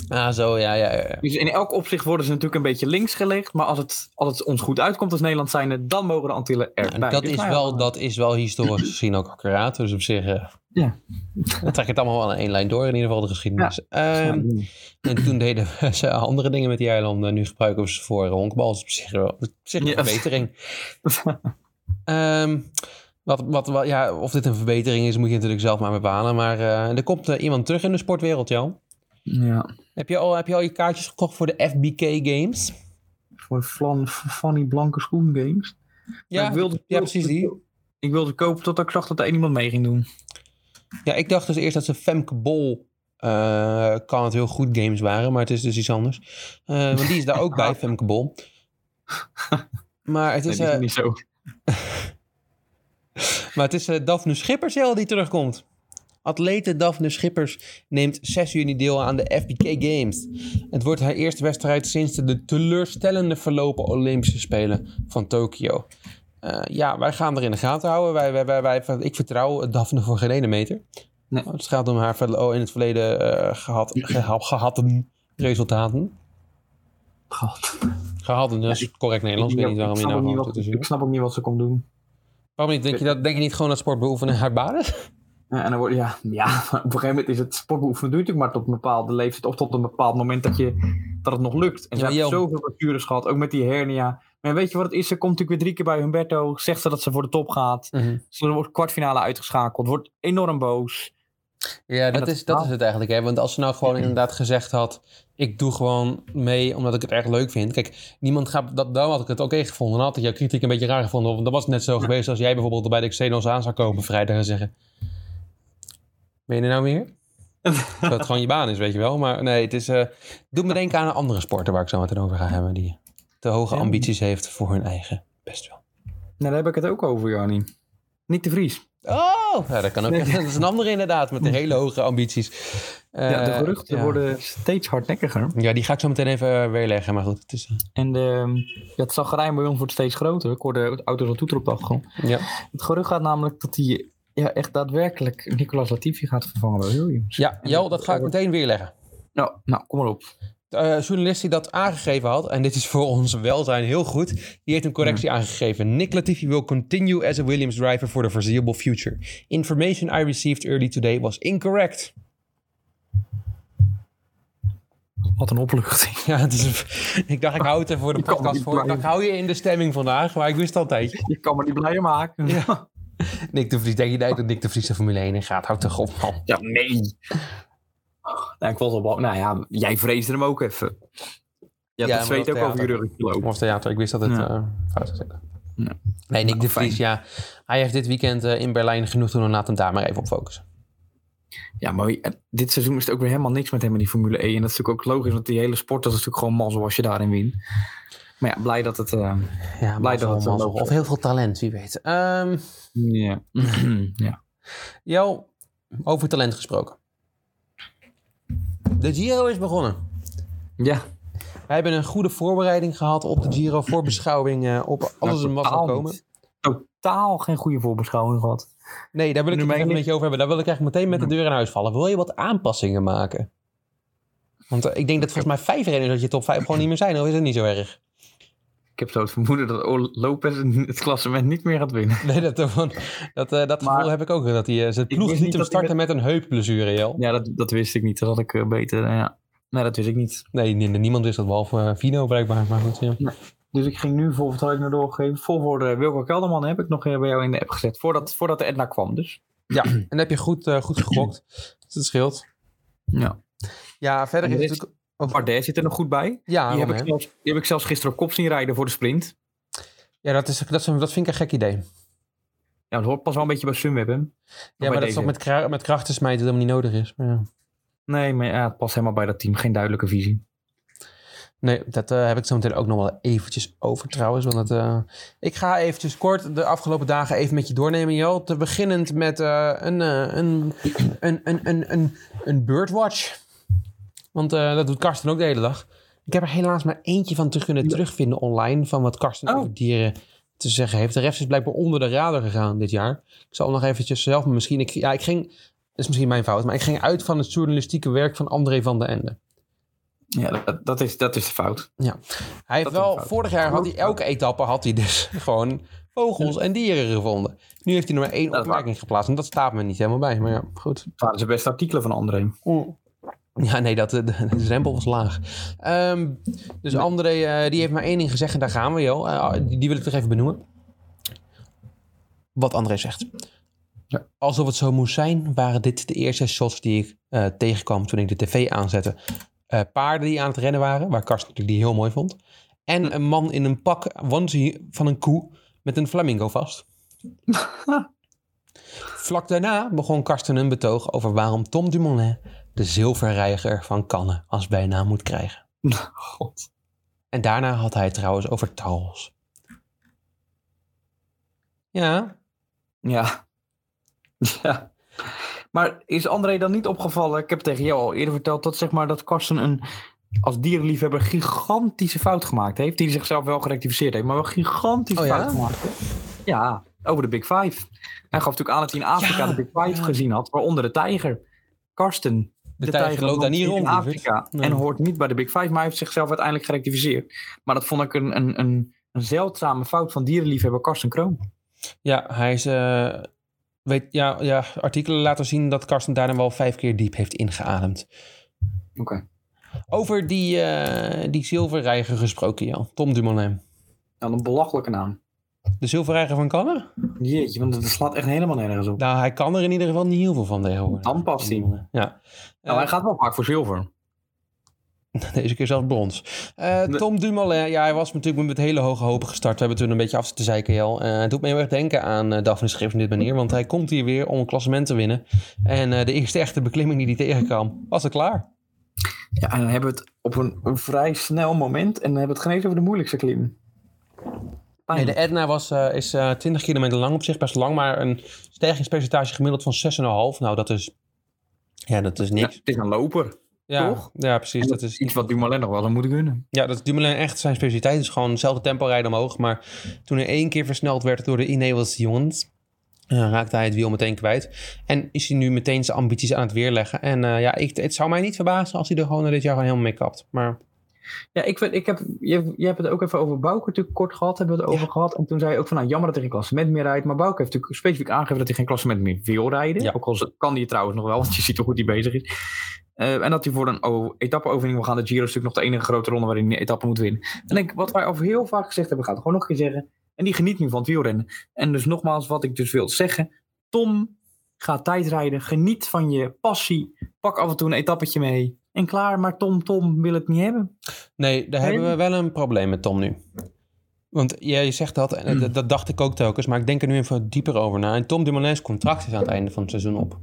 Speaker 1: Ah, zo, ja, ja, ja. ja.
Speaker 2: Dus in elk opzicht worden ze natuurlijk een beetje links gelegd. Maar als het, als het ons goed uitkomt als Nederland zijnde, dan mogen de Antillen erbij.
Speaker 1: En dat,
Speaker 2: Dus
Speaker 1: is
Speaker 2: nou ja,
Speaker 1: wel, dat is wel historisch gezien ook accuraat. Dus op zich... eh,
Speaker 2: Ja.
Speaker 1: Dan trek je het allemaal wel aan één lijn door. In ieder geval de geschiedenis.
Speaker 2: ja,
Speaker 1: Ehm, en toen deden we ze andere dingen met die eilanden. Nu gebruiken we ze voor honkbal. Dus op zich wel op zich wel
Speaker 2: Ja.
Speaker 1: een verbetering. Ehm, wat, wat, wat, ja, of dit een verbetering is, moet je natuurlijk zelf maar bepalen. Maar eh, er komt eh, iemand terug in de sportwereld, Jan.
Speaker 2: ja.
Speaker 1: Heb je, al, heb je al je kaartjes gekocht voor de FBK Games?
Speaker 2: Voor Flan, Fanny Blanke Schoen Games. Maar
Speaker 1: Ja,
Speaker 2: ik wilde,
Speaker 1: ja, precies die.
Speaker 2: Ik wilde kopen totdat ik zag dat er één iemand mee ging doen.
Speaker 1: Ja, ik dacht dus eerst dat ze Femke Bol... eh, kan het heel goed games waren, maar het is dus iets anders. Eh, want die is daar ook bij, Femke Bol. Maar het
Speaker 2: Nee,
Speaker 1: is,
Speaker 2: dat is
Speaker 1: eh,
Speaker 2: niet zo.
Speaker 1: maar het is eh, Daphne Schippers heel die terugkomt. Atlete Daphne Schippers neemt 6 juni deel aan de FBK Games. Het wordt haar eerste wedstrijd sinds de teleurstellende verlopen Olympische Spelen van Tokio. Eh, ja, wij gaan er in de gaten houden. Wij, wij, wij, wij- ik vertrouw Daphne voor geen ene meter. Oh,
Speaker 2: Nee.
Speaker 1: Het gaat om haar verlo- oh, in het verleden eh gehad, geha- gehadden resultaten.
Speaker 2: God.
Speaker 1: Gehadden, dat is correct Nederlands. Ik weet niet waarom je
Speaker 2: snap
Speaker 1: nou
Speaker 2: ook
Speaker 1: gewoon
Speaker 2: niet
Speaker 1: doet,
Speaker 2: wat,
Speaker 1: dus,
Speaker 2: ik snap ook niet wat ze kon doen.
Speaker 1: Waarom niet? Denk je, dat, denk je niet gewoon dat sport beoefenen haar baden?
Speaker 2: Ja, en dan wordt, ja, ja, op een gegeven moment is het sportbeoefenen doe je natuurlijk maar tot een bepaalde leeftijd of tot een bepaald moment dat, je, dat het nog lukt. En
Speaker 1: Ja,
Speaker 2: ze hebben
Speaker 1: Jan.
Speaker 2: zoveel blessures gehad, ook met die hernia. Maar weet je wat het is? Ze komt natuurlijk weer drie keer bij Humberto, zegt ze dat ze voor de top gaat.
Speaker 1: Mhm.
Speaker 2: Ze wordt kwartfinale uitgeschakeld, wordt enorm boos.
Speaker 1: Ja, dat,
Speaker 2: dat
Speaker 1: is, dat
Speaker 2: verhaal.
Speaker 1: is het eigenlijk. Hè? Want als ze nou gewoon inderdaad gezegd had... ik doe gewoon mee omdat ik het erg leuk vind. Kijk, niemand gaat... Dat, dan had ik het oké gevonden. Dan had ik jouw kritiek een beetje raar gevonden. Want dat was net zo geweest als jij bijvoorbeeld bij de Xenos aan zou komen vrijdag en zeggen... Ben je er nou meer? dat het gewoon je baan is, weet je wel. Maar nee, het is... eh doet me denken aan een andere sporter waar ik zo meteen over ga hebben... die te hoge
Speaker 2: Ja.
Speaker 1: ambities heeft voor hun eigen. Best wel.
Speaker 2: Nou, daar heb ik het ook over, Jani. Niet te Vries.
Speaker 1: Oh, ja, dat kan ook.
Speaker 2: Nee.
Speaker 1: Dat is een andere inderdaad, met hele hoge ambities.
Speaker 2: ja, de
Speaker 1: Eh,
Speaker 2: geruchten
Speaker 1: ja.
Speaker 2: worden steeds hardnekkiger.
Speaker 1: Ja, die ga ik zo meteen even eh, weerleggen. Maar goed, het is... eh,
Speaker 2: En de, ja, het zagrijn bij ons wordt steeds groter. Ik hoor de auto's al toeteren op de achtergrond.
Speaker 1: Ja.
Speaker 2: Het gerucht gaat namelijk dat hij ja, echt daadwerkelijk Nicolas Latifi gaat vervangen bij Williams.
Speaker 1: ja, Jo, dat ga ik meteen weerleggen.
Speaker 2: Nou, nou kom maar op.
Speaker 1: De eh, journalist die dat aangegeven had, en dit is voor ons welzijn heel goed, die heeft een correctie aangegeven. Nick Latifi will continue as a Williams driver for the foreseeable future. Information I received early today was incorrect.
Speaker 2: Wat een opluchting.
Speaker 1: Ja, het is, ik dacht, ik hou het er voor de
Speaker 2: Ik kan
Speaker 1: podcast
Speaker 2: niet
Speaker 1: voor. Ik dacht,
Speaker 2: blijven.
Speaker 1: hou je in de stemming vandaag, maar ik wist altijd.
Speaker 2: Je kan me niet blijer maken.
Speaker 1: Ja. Nick de Vries, denk je nou dat Nick de Vries de Formule 1 in gaat? Houd toch op, man.
Speaker 2: Ja, nee. Nou, ik was al bang. Nou ja, jij vreesde hem ook even. Ja,
Speaker 1: Ja, maar
Speaker 2: dat zweet
Speaker 1: dat
Speaker 2: ook over je
Speaker 1: theater.
Speaker 2: rug gelopen.
Speaker 1: Of theater, ik wist dat het
Speaker 2: Ja.
Speaker 1: eh, fout was.
Speaker 2: Ja.
Speaker 1: Nee, Nick de
Speaker 2: Nou, fijn.
Speaker 1: Vries, ja. Hij heeft dit weekend eh, in Berlijn genoeg te doen. Laat hem daar maar even op focussen.
Speaker 2: Ja, maar eh, dit seizoen is het ook weer helemaal niks met hem in die Formule 1. En dat is natuurlijk ook logisch, want die hele sport dat is natuurlijk gewoon mazzel als je daarin wint. Maar ja, blij dat het... eh,
Speaker 1: Ja,
Speaker 2: Blij dat
Speaker 1: mazzel,
Speaker 2: het zo
Speaker 1: mazzel.
Speaker 2: loopt.
Speaker 1: Of heel veel talent, wie weet. Ehm
Speaker 2: ja. ja.
Speaker 1: Jo, over talent gesproken. De Giro is begonnen.
Speaker 2: Ja,
Speaker 1: Wij hebben een goede voorbereiding gehad op de Giro. Voorbeschouwing eh, op alles
Speaker 2: Nou,
Speaker 1: wat mag
Speaker 2: totaal
Speaker 1: komen.
Speaker 2: niet. Totaal geen goede voorbeschouwing gehad.
Speaker 1: Nee, daar wil ik
Speaker 2: Nu
Speaker 1: het
Speaker 2: ben ik
Speaker 1: even een
Speaker 2: niet-
Speaker 1: beetje over hebben. Daar wil ik eigenlijk meteen met de
Speaker 2: Hmm.
Speaker 1: deur in huis vallen. Wil je wat aanpassingen maken? Want eh, ik denk dat volgens mij vijf renners dat je top vijf gewoon niet meer zijn. Of is het niet zo erg?
Speaker 2: Ik heb zo het vermoeden dat O- Lopez het klassement niet meer gaat winnen.
Speaker 1: Nee, dat, dat, dat, eh, dat
Speaker 2: Maar-
Speaker 1: gevoel heb ik ook. Dat hij eh, zijn ploeg
Speaker 2: wist
Speaker 1: niet
Speaker 2: niet
Speaker 1: hem
Speaker 2: dat hij
Speaker 1: starten met... een heupblessure, Jel.
Speaker 2: Ja, dat, dat wist ik niet. Dat had ik eh, beter. eh, Ja. Nee, dat wist ik niet.
Speaker 1: Nee, nee, nee, niemand wist dat, behalve eh, Vino blijkbaar. Maar goed, ja.
Speaker 2: Dus ik ging nu vol vertrouwen naar doorgeven. Vol voor eh, Wilco Kelderman heb ik nog eh, bij jou in de app gezet. Voordat, voordat de Edna kwam dus.
Speaker 1: En dan heb je goed, eh, goed gegokt. Dus dat scheelt.
Speaker 2: Ja.
Speaker 1: Ja, verder
Speaker 2: En
Speaker 1: is
Speaker 2: dit-
Speaker 1: het natuurlijk... Oh,
Speaker 2: Bardet zit er nog goed bij.
Speaker 1: ja,
Speaker 2: Die heb,
Speaker 1: waarom,
Speaker 2: ik
Speaker 1: hè?
Speaker 2: zelfs, die heb ik zelfs gisteren op kop zien rijden voor de sprint.
Speaker 1: ja dat, is, dat, is een- dat vind ik een gek idee.
Speaker 2: Ja, dat hoort pas wel een beetje bij Sunweb, hè?
Speaker 1: Ja, maar dat is ook met, kra- met krachten smijten dat helemaal niet nodig is. Maar ja.
Speaker 2: Nee, maar ja, het past helemaal bij dat team. Geen duidelijke visie.
Speaker 1: Nee, dat eh, heb ik zo meteen ook nog wel eventjes over trouwens. Want het, eh, ik ga eventjes kort de afgelopen dagen even met je doornemen, Jo. Te beginnend met eh, een, eh, een, een, een, een, een, een birdwatch. Want eh, dat doet Karsten ook de hele dag. Ik heb er helaas maar eentje van te kunnen terugvinden online... van wat Karsten
Speaker 2: Oh.
Speaker 1: over dieren te zeggen heeft. De rest is blijkbaar onder de radar gegaan dit jaar. Ik zal nog eventjes zelf misschien... Ik, ja, ik ging... Dat is misschien mijn fout, maar ik ging uit van het journalistieke werk van André van den Ende.
Speaker 2: Ja, dat, dat, is, dat is de fout.
Speaker 1: Hij heeft
Speaker 2: Dat is een
Speaker 1: wel,
Speaker 2: fout.
Speaker 1: vorig jaar had hij elke etappe had hij dus gewoon vogels en dieren gevonden. Nu heeft hij nog maar één
Speaker 2: Dat is waar.
Speaker 1: opmerking geplaatst. En dat staat me niet helemaal bij. Maar ja, goed.
Speaker 2: Het waren zijn beste artikelen van André.
Speaker 1: Ja, nee, dat, de, de drempel was laag. Ehm, dus André, eh, die heeft maar één ding gezegd en daar gaan we, joh. Eh, die, die wil ik toch even benoemen. Wat André zegt.
Speaker 2: Ja.
Speaker 1: Alsof het zo moest zijn, waren dit de eerste shots die ik eh, tegenkwam toen ik de tv aanzette. Eh, paarden die aan het rennen waren, waar Karsten natuurlijk die heel mooi vond. En een man in een pak onesie van een koe met een flamingo vast. Vlak daarna begon Karsten een betoog over waarom Tom Dumoulin de zilverreiger van Cannes als bijnaam moet krijgen.
Speaker 2: God.
Speaker 1: En daarna had hij het trouwens over Taos. Ja,
Speaker 2: Ja. Ja. Maar is André dan niet opgevallen? Ik heb tegen jou al eerder verteld dat, zeg maar, dat Karsten een, als dierenliefhebber gigantische fout gemaakt heeft. Die hij zichzelf wel gerectificeerd heeft, maar wel gigantische
Speaker 1: Oh ja?
Speaker 2: fout gemaakt. heeft. Ja, over de Big Five. Hij gaf natuurlijk aan dat hij in Afrika
Speaker 1: Ja,
Speaker 2: de Big Five
Speaker 1: ja.
Speaker 2: gezien had, waaronder de tijger. Karsten,
Speaker 1: de, tijd loopt daar niet
Speaker 2: in
Speaker 1: rond. lieverd.
Speaker 2: Afrika
Speaker 1: Nee.
Speaker 2: en hoort niet bij de Big Five, maar hij heeft zichzelf uiteindelijk gerectificeerd. Maar dat vond ik een, een, een, een zeldzame fout van dierenliefhebber Karsten Kroon.
Speaker 1: Ja, hij is... eh, weet, ja, ja, artikelen laten zien dat Karsten daarna wel vijf keer diep heeft ingeademd.
Speaker 2: Oké.
Speaker 1: Over die, eh, die zilverreiger gesproken, Jan. Tom Dumoulin.
Speaker 2: Nou, een belachelijke naam.
Speaker 1: De zilverreiger van Cannes?
Speaker 2: Jeetje, want dat slaat echt helemaal nergens op.
Speaker 1: Nou, hij kan er in ieder geval niet heel veel van tegenwoordig.
Speaker 2: Dan past hij.
Speaker 1: Dumoulin, Ja.
Speaker 2: Nou, hij gaat wel vaak voor zilver.
Speaker 1: Deze keer zelfs brons. Eh,
Speaker 2: Nee.
Speaker 1: Tom Dumoulin, ja, hij was natuurlijk met hele hoge hopen gestart. We hebben toen een beetje af te zeiken, Jel. Eh, het doet me heel erg denken aan eh, Daphne Schips op dit manier. Want hij komt hier weer om een klassement te winnen. En eh, de eerste echte beklimming die hij tegenkwam, was er klaar.
Speaker 2: Ja, en dan hebben we het op een, een vrij snel moment. En dan hebben we het geen eens over de moeilijkste klim.
Speaker 1: Nee,
Speaker 2: Pijn.
Speaker 1: de Etna was, eh, is eh 20 kilometer lang op zich, best lang. Maar een stijgingspercentage gemiddeld van 6,5. Nou, dat is... Ja, dat is
Speaker 2: Ja,
Speaker 1: niks.
Speaker 2: het is een loper.
Speaker 1: Ja,
Speaker 2: toch?
Speaker 1: Ja, precies.
Speaker 2: En
Speaker 1: Dus Dat is
Speaker 2: Iets wat Dumoulin nog wel zou moeten kunnen.
Speaker 1: Ja, dat is Dumoulin echt zijn specialiteit. is gewoon hetzelfde tempo rijden omhoog. Maar toen hij één keer versneld werd door de Ineos jongens... eh, raakte hij het wiel meteen kwijt. En is hij nu meteen zijn ambities aan het weerleggen. En eh, ja, ik, het zou mij niet verbazen als hij er gewoon dit jaar gewoon helemaal mee kapt. Maar
Speaker 2: Ja, ik, vind, ik heb, je, je hebt het ook even over Bouke natuurlijk kort gehad. Hebben we het over gehad. En toen zei je ook van, nou jammer dat hij geen klassement meer rijdt. Maar Bouke heeft natuurlijk specifiek aangegeven dat hij geen klassement meer wil rijden.
Speaker 1: Ja.
Speaker 2: Ook al z- kan hij het trouwens nog wel, want je ziet hoe goed hij bezig is. Eh, en dat hij voor een o- etappe-overwinning wil gaan. De Giro is natuurlijk nog de enige grote ronde waarin hij een etappe moet winnen. En ik, wat wij over heel vaak gezegd hebben, gaat gewoon nog een keer zeggen. En die geniet nu van het wielrennen. En dus nogmaals, wat ik dus wil zeggen. Tom, ga tijdrijden. Geniet van je passie. Pak af en toe een etappetje mee. En klaar, maar Tom, Tom wil het niet hebben.
Speaker 1: nee, daar
Speaker 2: Nee.
Speaker 1: hebben we wel een probleem met Tom nu. Want jij zegt dat, en
Speaker 2: Hmm.
Speaker 1: dat, dat dacht ik ook telkens. Maar ik denk er nu even dieper over na. En Tom Dumoulin's contract is aan het einde van het seizoen op.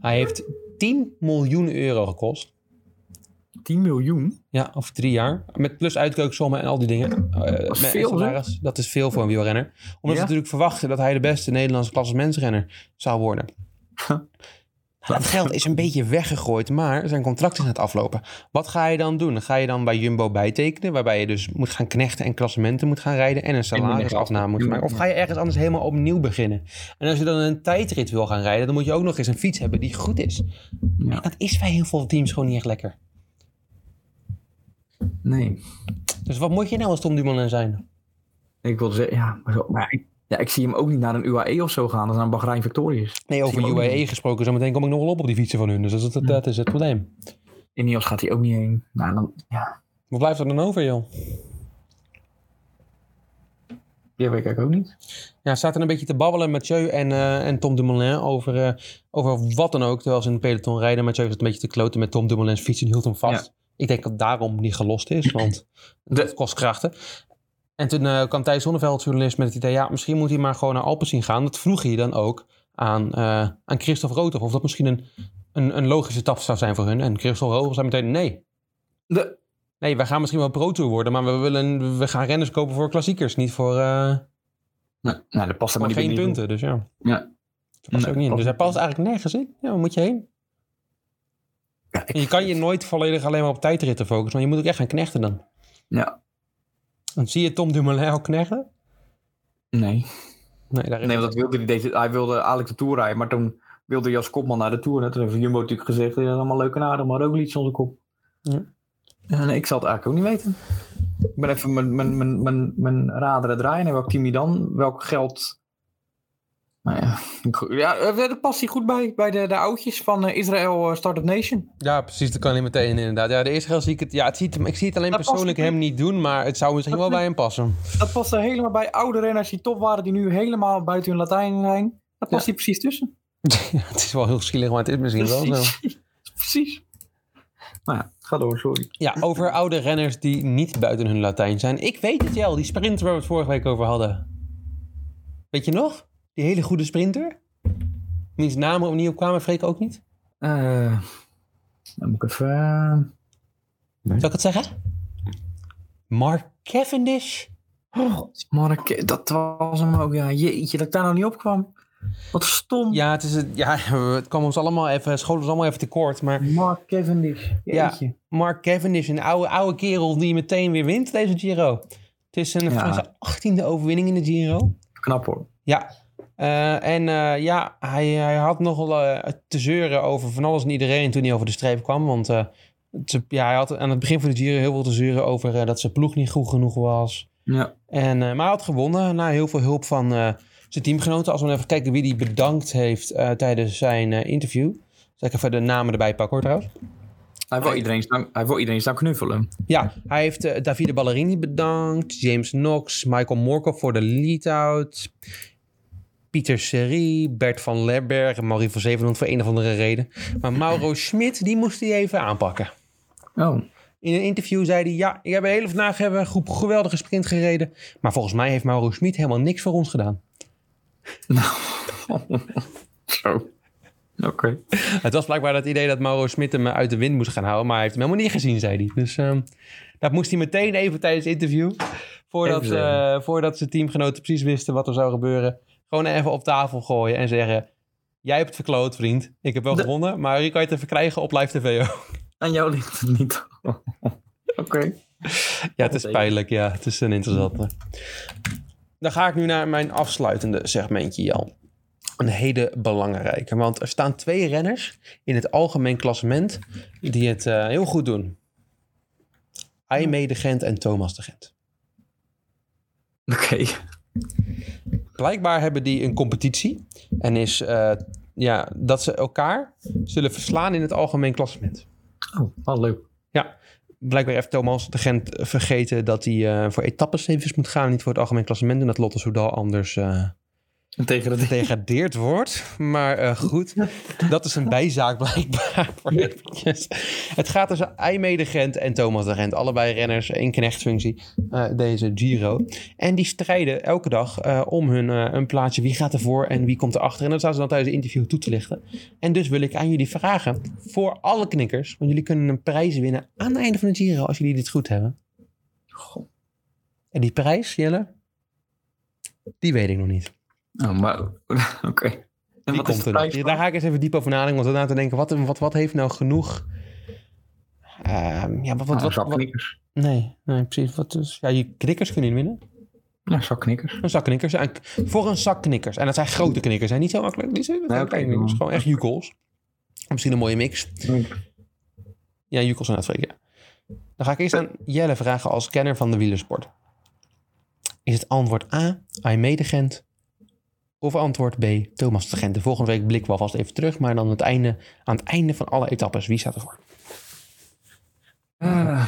Speaker 1: Hij heeft 10 miljoen euro gekost.
Speaker 2: 10 miljoen?
Speaker 1: Ja, over drie jaar. Met plus uitkooksommen en al die dingen. Eh,
Speaker 2: is
Speaker 1: met
Speaker 2: veel, hè?
Speaker 1: salaris. Dat is veel voor een wielrenner. Omdat
Speaker 2: Ja.
Speaker 1: ze natuurlijk verwachten dat hij de beste Nederlandse klassementsrenner zou worden. Dat geld is een beetje weggegooid, maar zijn contract is aan het aflopen. Wat ga je dan doen? Ga je dan bij Jumbo bijtekenen, waarbij je dus moet gaan knechten en klassementen moet gaan rijden en een salarisafname moet maken? Of ga je ergens anders helemaal opnieuw beginnen? En als je dan een tijdrit wil gaan rijden, dan moet je ook nog eens een fiets hebben die goed is.
Speaker 2: Ja.
Speaker 1: En dat is bij heel veel teams gewoon niet echt lekker.
Speaker 2: Nee.
Speaker 1: Dus wat moet je nou als Tom Dumoulin zijn?
Speaker 2: Ik wilde zeggen, ja, maar, zo, maar ik, ja, ik zie hem ook niet naar een UAE of zo gaan, dan naar een Bahrein Victorious.
Speaker 1: Nee, over
Speaker 2: Zie je ook
Speaker 1: UAE
Speaker 2: niet.
Speaker 1: gesproken. Zometeen kom ik nog wel op op die fietsen van hun. Dus dat, is- dat, dat is het probleem.
Speaker 2: In Niels gaat hij ook niet heen. Nou, dan, ja,
Speaker 1: Wat blijft er dan over, joh?
Speaker 2: die weet ik eigenlijk ook niet.
Speaker 1: Ja, zaten een beetje te babbelen Mathieu en, eh, en Tom Dumoulin over, eh, over wat dan ook. Terwijl ze in de peloton rijden. Mathieu zat een beetje te kloten met Tom Dumoulin's fiets en hield hem vast. Ik denk dat daarom niet gelost is, want dat kost krachten. En toen eh, kwam Thijs Zonneveld, journalist, met het idee... ja, misschien moet hij maar gewoon naar Alpes zien gaan. Dat vroeg hij dan ook aan, eh, aan Christophe Roter. Of dat misschien een, een, een logische stap zou zijn voor hun. En Christophe Roter zei meteen nee.
Speaker 2: De,
Speaker 1: Nee, wij gaan misschien wel Pro Tour worden, maar we, willen, we gaan renners kopen voor klassiekers, niet voor, eh,
Speaker 2: Nou, nou dat past
Speaker 1: voor
Speaker 2: helemaal
Speaker 1: geen
Speaker 2: niet in.
Speaker 1: punten. Dus ja,
Speaker 2: Ja.
Speaker 1: dat past
Speaker 2: Nee,
Speaker 1: ook niet in. Dus
Speaker 2: past
Speaker 1: hij
Speaker 2: niet
Speaker 1: past eigenlijk nergens in. Ja, waar moet je heen?
Speaker 2: Ja, ik-
Speaker 1: En je kan je nooit volledig alleen maar op tijdritten focussen, want je moet ook echt gaan knechten dan.
Speaker 2: Ja.
Speaker 1: Dan zie je Tom Dumoulin al knechten?
Speaker 2: Nee.
Speaker 1: Nee, daar is
Speaker 2: Nee, want dat wilde hij, deze, hij wilde eigenlijk de Tour rijden, maar toen wilde Jas Kopman naar de Tour. Hè. Toen heeft Jumbo natuurlijk gezegd, ja, allemaal leuke en aardig, maar ook iets onder de kop.
Speaker 1: Ja.
Speaker 2: Ja, nee, ik zal het eigenlijk ook niet weten. Ik ben even mijn, mijn, mijn, mijn, mijn raderen draaien. En welk team hij dan? Welk geld? Nou ja, ik- ja eh, daar past hij goed bij. Bij de, de oudjes van eh, Israël eh, Startup Nation.
Speaker 1: Ja, precies. Dat kan hij meteen inderdaad. Ja, de eerste keer zie ik het. Ja, het ziet, hem- ik zie het alleen
Speaker 2: Dat past
Speaker 1: persoonlijk
Speaker 2: niet.
Speaker 1: hem niet doen, maar het zou misschien
Speaker 2: Dat
Speaker 1: wel bij hem passen.
Speaker 2: Dat past er helemaal bij. Oude renners die top waren, die nu helemaal buiten hun Latijn zijn. Dat past hij precies tussen.
Speaker 1: ja, het is wel heel zielig, maar het is misschien wel zo.
Speaker 2: Precies. precies. Nou ja, ga door, sorry.
Speaker 1: Ja, over oude renners die niet buiten hun Latijn zijn. Ik weet het wel, die sprinter waar we het vorige week over hadden. Weet je nog? Die hele goede sprinter? Wiens namen opnieuw kwamen, Freek ook niet.
Speaker 2: Eh, dan moet ik even... eh,
Speaker 1: Zal ik het zeggen? Mark Cavendish?
Speaker 2: Mark, dat was hem ook. Ja, jeetje, dat ik daar nou niet op kwam. Wat stom.
Speaker 1: Ja, het, is, het- ja, het kwam ons allemaal even, school ons allemaal even tekort, maar...
Speaker 2: Mark Cavendish.
Speaker 1: Ja.
Speaker 2: Jeetje.
Speaker 1: Mark Cavendish, een oude, oude kerel die meteen weer wint deze Giro. Het is een,
Speaker 2: Ja.
Speaker 1: zijn achttiende overwinning in de Giro.
Speaker 2: Knap hoor.
Speaker 1: Ja. Eh, en eh, ja, hij, hij had nogal eh, te zeuren over van alles en iedereen toen hij over de streep kwam. Want eh, ze- ja, hij had aan het begin van de Giro heel veel te zeuren over eh, dat zijn ploeg niet goed genoeg was.
Speaker 2: Ja.
Speaker 1: En, eh, maar hij had gewonnen na heel veel hulp van eh, zijn teamgenoten. Als we even kijken wie die bedankt heeft eh, tijdens zijn eh, interview. Zal ik even de namen erbij pakken hoor trouwens.
Speaker 2: Hij wil iedereen staan, hij wil iedereen staan knuffelen.
Speaker 1: Ja, hij heeft eh, Davide Ballerini bedankt. James Knox, Michael Morkov voor de lead-out. Pieter Serie, Bert van Lerberg en Marie van Zevenhond voor een of andere reden. Maar Mauro Schmid, die moest hij even aanpakken.
Speaker 2: Oh.
Speaker 1: In een interview zei hij, ja, ik heb de hele vandaag hebben we een groep geweldige sprint gereden. Maar volgens mij heeft Mauro Schmid helemaal niks voor ons gedaan.
Speaker 2: Zo. Oké.
Speaker 1: Het was blijkbaar dat idee dat Mauro Smit hem uit de wind moest gaan houden. Maar hij heeft hem helemaal niet gezien, zei hij. Dus ehm, dat moest hij meteen even tijdens het interview. Voordat,
Speaker 2: Even zeggen.
Speaker 1: eh, voordat zijn teamgenoten precies wisten wat er zou gebeuren. Gewoon even op tafel gooien en zeggen... Jij hebt het verkloot, vriend. Ik heb wel
Speaker 2: De-
Speaker 1: gewonnen, maar je kan je het even krijgen op live tv ook.
Speaker 2: Aan jou ligt het niet. Oké.
Speaker 1: Ja, het is
Speaker 2: Zeker.
Speaker 1: pijnlijk. Ja, het is een interessante. Dan ga ik nu naar mijn afsluitende segmentje, Jan. Een hele belangrijke. Want er staan twee renners in het algemeen klassement die het eh, heel goed doen. Aimee de Gent en Thomas de Gent.
Speaker 2: Oké.
Speaker 1: Blijkbaar hebben die een competitie. En is eh, ja, dat ze elkaar zullen verslaan in het algemeen klassement.
Speaker 2: Oh, wat leuk.
Speaker 1: Blijkbaar heeft Thomas de Gent vergeten dat hij eh, voor etappesevens moet gaan. Niet voor het algemeen klassement. En dat Lotte Soudal anders... eh,
Speaker 2: En tegen dat
Speaker 1: gedegradeerd wordt. Maar eh, goed, dat is een bijzaak blijkbaar voor eventjes. Het gaat tussen Aimee de Gent en Thomas de Gent. Allebei renners, één knechtfunctie, eh, deze Giro. En die strijden elke dag eh, om hun eh, een plaatsje. Wie gaat ervoor en wie komt erachter? En dat staan ze dan tijdens het interview toe te lichten. En dus wil ik aan jullie vragen, voor alle knikkers... want jullie kunnen een prijs winnen aan het einde van de Giro... als jullie dit goed hebben.
Speaker 2: Goh.
Speaker 1: En die prijs, Jelle, die weet ik nog niet.
Speaker 2: Oh, maar... Oké. En
Speaker 1: Die
Speaker 2: wat is
Speaker 1: komt
Speaker 2: de
Speaker 1: er nog.
Speaker 2: prijs
Speaker 1: Ja,
Speaker 2: van?
Speaker 1: Daar ga ik eens even diep over nadenken. Want daarna te denken, wat, wat, wat heeft nou genoeg... Ehm, ja, wat, wat,
Speaker 2: Nou, een
Speaker 1: wat,
Speaker 2: zak
Speaker 1: wat-
Speaker 2: knikkers.
Speaker 1: nee, nee, precies. Wat is, ja, je knikkers kunnen je winnen.
Speaker 2: Ja, een zak knikkers.
Speaker 1: Een zak knikkers. En voor een zak knikkers. En dat zijn grote knikkers. Zijn niet zo makkelijk. Die zijn dat
Speaker 2: Nee,
Speaker 1: zijn
Speaker 2: oké,
Speaker 1: kleine knikkers.
Speaker 2: doe
Speaker 1: Gewoon echt jukels. Misschien een mooie mix. Ja, jukels en uitvreken. ja. Dan ga ik eerst aan Jelle vragen als kenner van de wielersport. Is het antwoord A, Aimee de Gent? Of antwoord B, Thomas de Gent? De volgende week blikken we alvast even terug, maar dan het einde, aan het einde van alle etappes. Wie staat ervoor?
Speaker 2: Eh,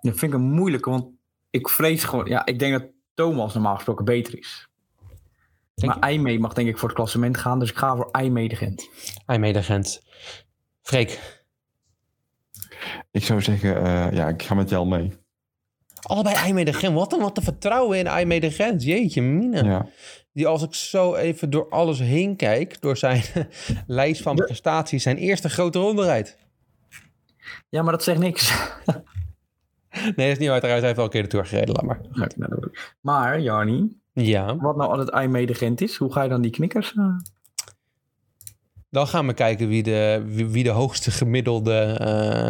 Speaker 2: dat vind ik een moeilijke, want ik vrees gewoon... Ja, ik denk dat Thomas normaal gesproken beter is.
Speaker 1: Denk
Speaker 2: maar IJmee mag denk ik voor het klassement gaan, dus ik ga voor IJmee de Gent.
Speaker 1: Aimee de Gent. Freek,
Speaker 3: Ik zou zeggen, eh, ja, ik ga met jou mee.
Speaker 1: allebei Aimee de Gent. Wat een wat een vertrouwen in Aimee de Gent. Jeetje, mina.
Speaker 3: Ja.
Speaker 1: Die als ik zo even door alles heen kijk, door zijn lijst van
Speaker 2: Ja.
Speaker 1: prestaties, zijn eerste grote ronde rijdt.
Speaker 2: Ja, maar dat zegt niks.
Speaker 1: Nee, dat is niet waar. Trouwens, hij heeft al een keer de tour gereden. Laat maar.
Speaker 2: Nou, nou, dat ook. Maar, Jarni,
Speaker 1: Ja.
Speaker 2: wat nou als het ei medegent is, hoe ga je dan die knikkers... eh,
Speaker 1: Dan gaan we kijken wie de, wie, wie de hoogste gemiddelde... eh,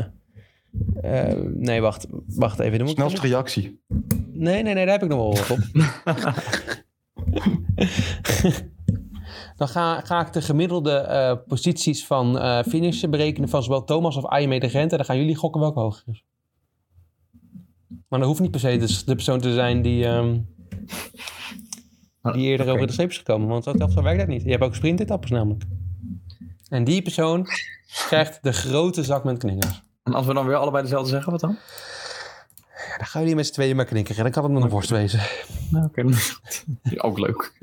Speaker 1: eh, nee, wacht. Wacht even. Dan moet ik-
Speaker 3: Snelste reactie.
Speaker 1: Nee, nee, nee, daar heb ik nog wel wat op. Dan ga, ga ik de gemiddelde eh, posities van eh finishen berekenen van zowel Thomas of Ayame de Gent. En dan gaan jullie gokken welke hoger is. Maar dat hoeft niet per se dus de, de persoon te zijn die, ehm, die eerder
Speaker 2: Oké.
Speaker 1: over de streep is gekomen. Want dat, dat zo werkt dat niet. Je hebt ook sprintetappes namelijk. En die persoon krijgt de grote zak met knikkers.
Speaker 2: En als we dan weer allebei dezelfde zeggen, wat dan?
Speaker 1: Ja, dan gaan jullie met z'n tweeën maar knikkeren. Dan kan het nog een worst wezen.
Speaker 2: Nou, oké. Is ook leuk.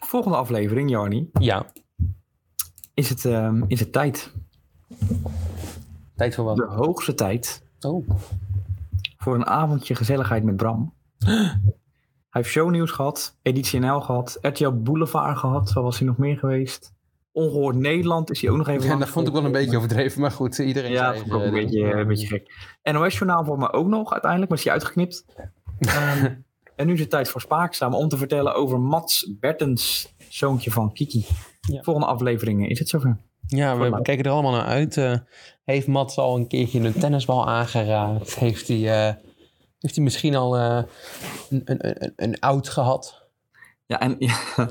Speaker 2: Volgende aflevering, Jarni,
Speaker 1: Ja,
Speaker 2: is het, ehm, is het tijd.
Speaker 1: tijd voor
Speaker 2: De
Speaker 1: wat.
Speaker 2: hoogste tijd
Speaker 1: Oh.
Speaker 2: voor een avondje gezelligheid met Bram. Hij heeft shownieuws gehad, editie NL gehad, RTL Boulevard gehad, waar was hij nog meer geweest? Ongehoord Nederland is hij ook nog even
Speaker 1: Ja, dat
Speaker 2: langs
Speaker 1: vond ik wel een beetje overdreven, maar goed, iedereen
Speaker 2: Ja,
Speaker 1: zei
Speaker 2: vond ik ook een
Speaker 1: eh,
Speaker 2: beetje, een beetje gek. NOS-journaal voor me ook nog uiteindelijk, maar is die uitgeknipt. Ehm, en nu is het tijd voor Spaakzaam om te vertellen over Mats Bertens, zoontje van Kiki.
Speaker 1: Ja.
Speaker 2: Volgende aflevering is het zover.
Speaker 1: Ja, we
Speaker 2: mij.
Speaker 1: kijken er allemaal naar uit. Eh, heeft Mats al een keertje een tennisbal aangeraakt? Heeft hij, eh, heeft hij misschien al eh, een, een, een, een oud gehad?
Speaker 2: Ja, en,
Speaker 1: Het zal
Speaker 2: En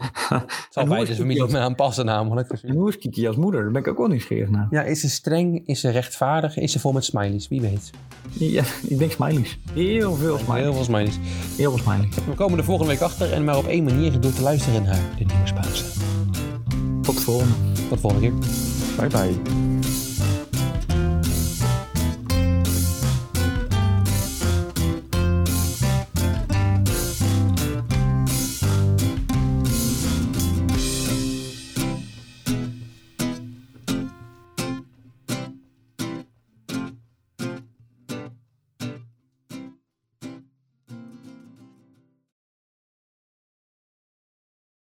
Speaker 1: bij
Speaker 2: hoe
Speaker 1: de
Speaker 2: is
Speaker 1: familie
Speaker 2: hij
Speaker 1: niet meer aanpassen namelijk. Dus-
Speaker 2: en hoe is Kiki als moeder? Daar ben ik ook wel nieuwsgierig naar.
Speaker 1: Ja, is ze streng? Is ze rechtvaardig? Is ze vol met smileys? Wie weet.
Speaker 2: Ja, ik denk smileys. Heel veel
Speaker 1: Heel
Speaker 2: smileys.
Speaker 1: veel smileys.
Speaker 2: Heel veel smileys.
Speaker 1: We komen er volgende week achter en maar op één manier door te luisteren naar de nieuwe Spaanse.
Speaker 2: Tot de volgende.
Speaker 1: Tot volgende keer.
Speaker 3: Bye bye.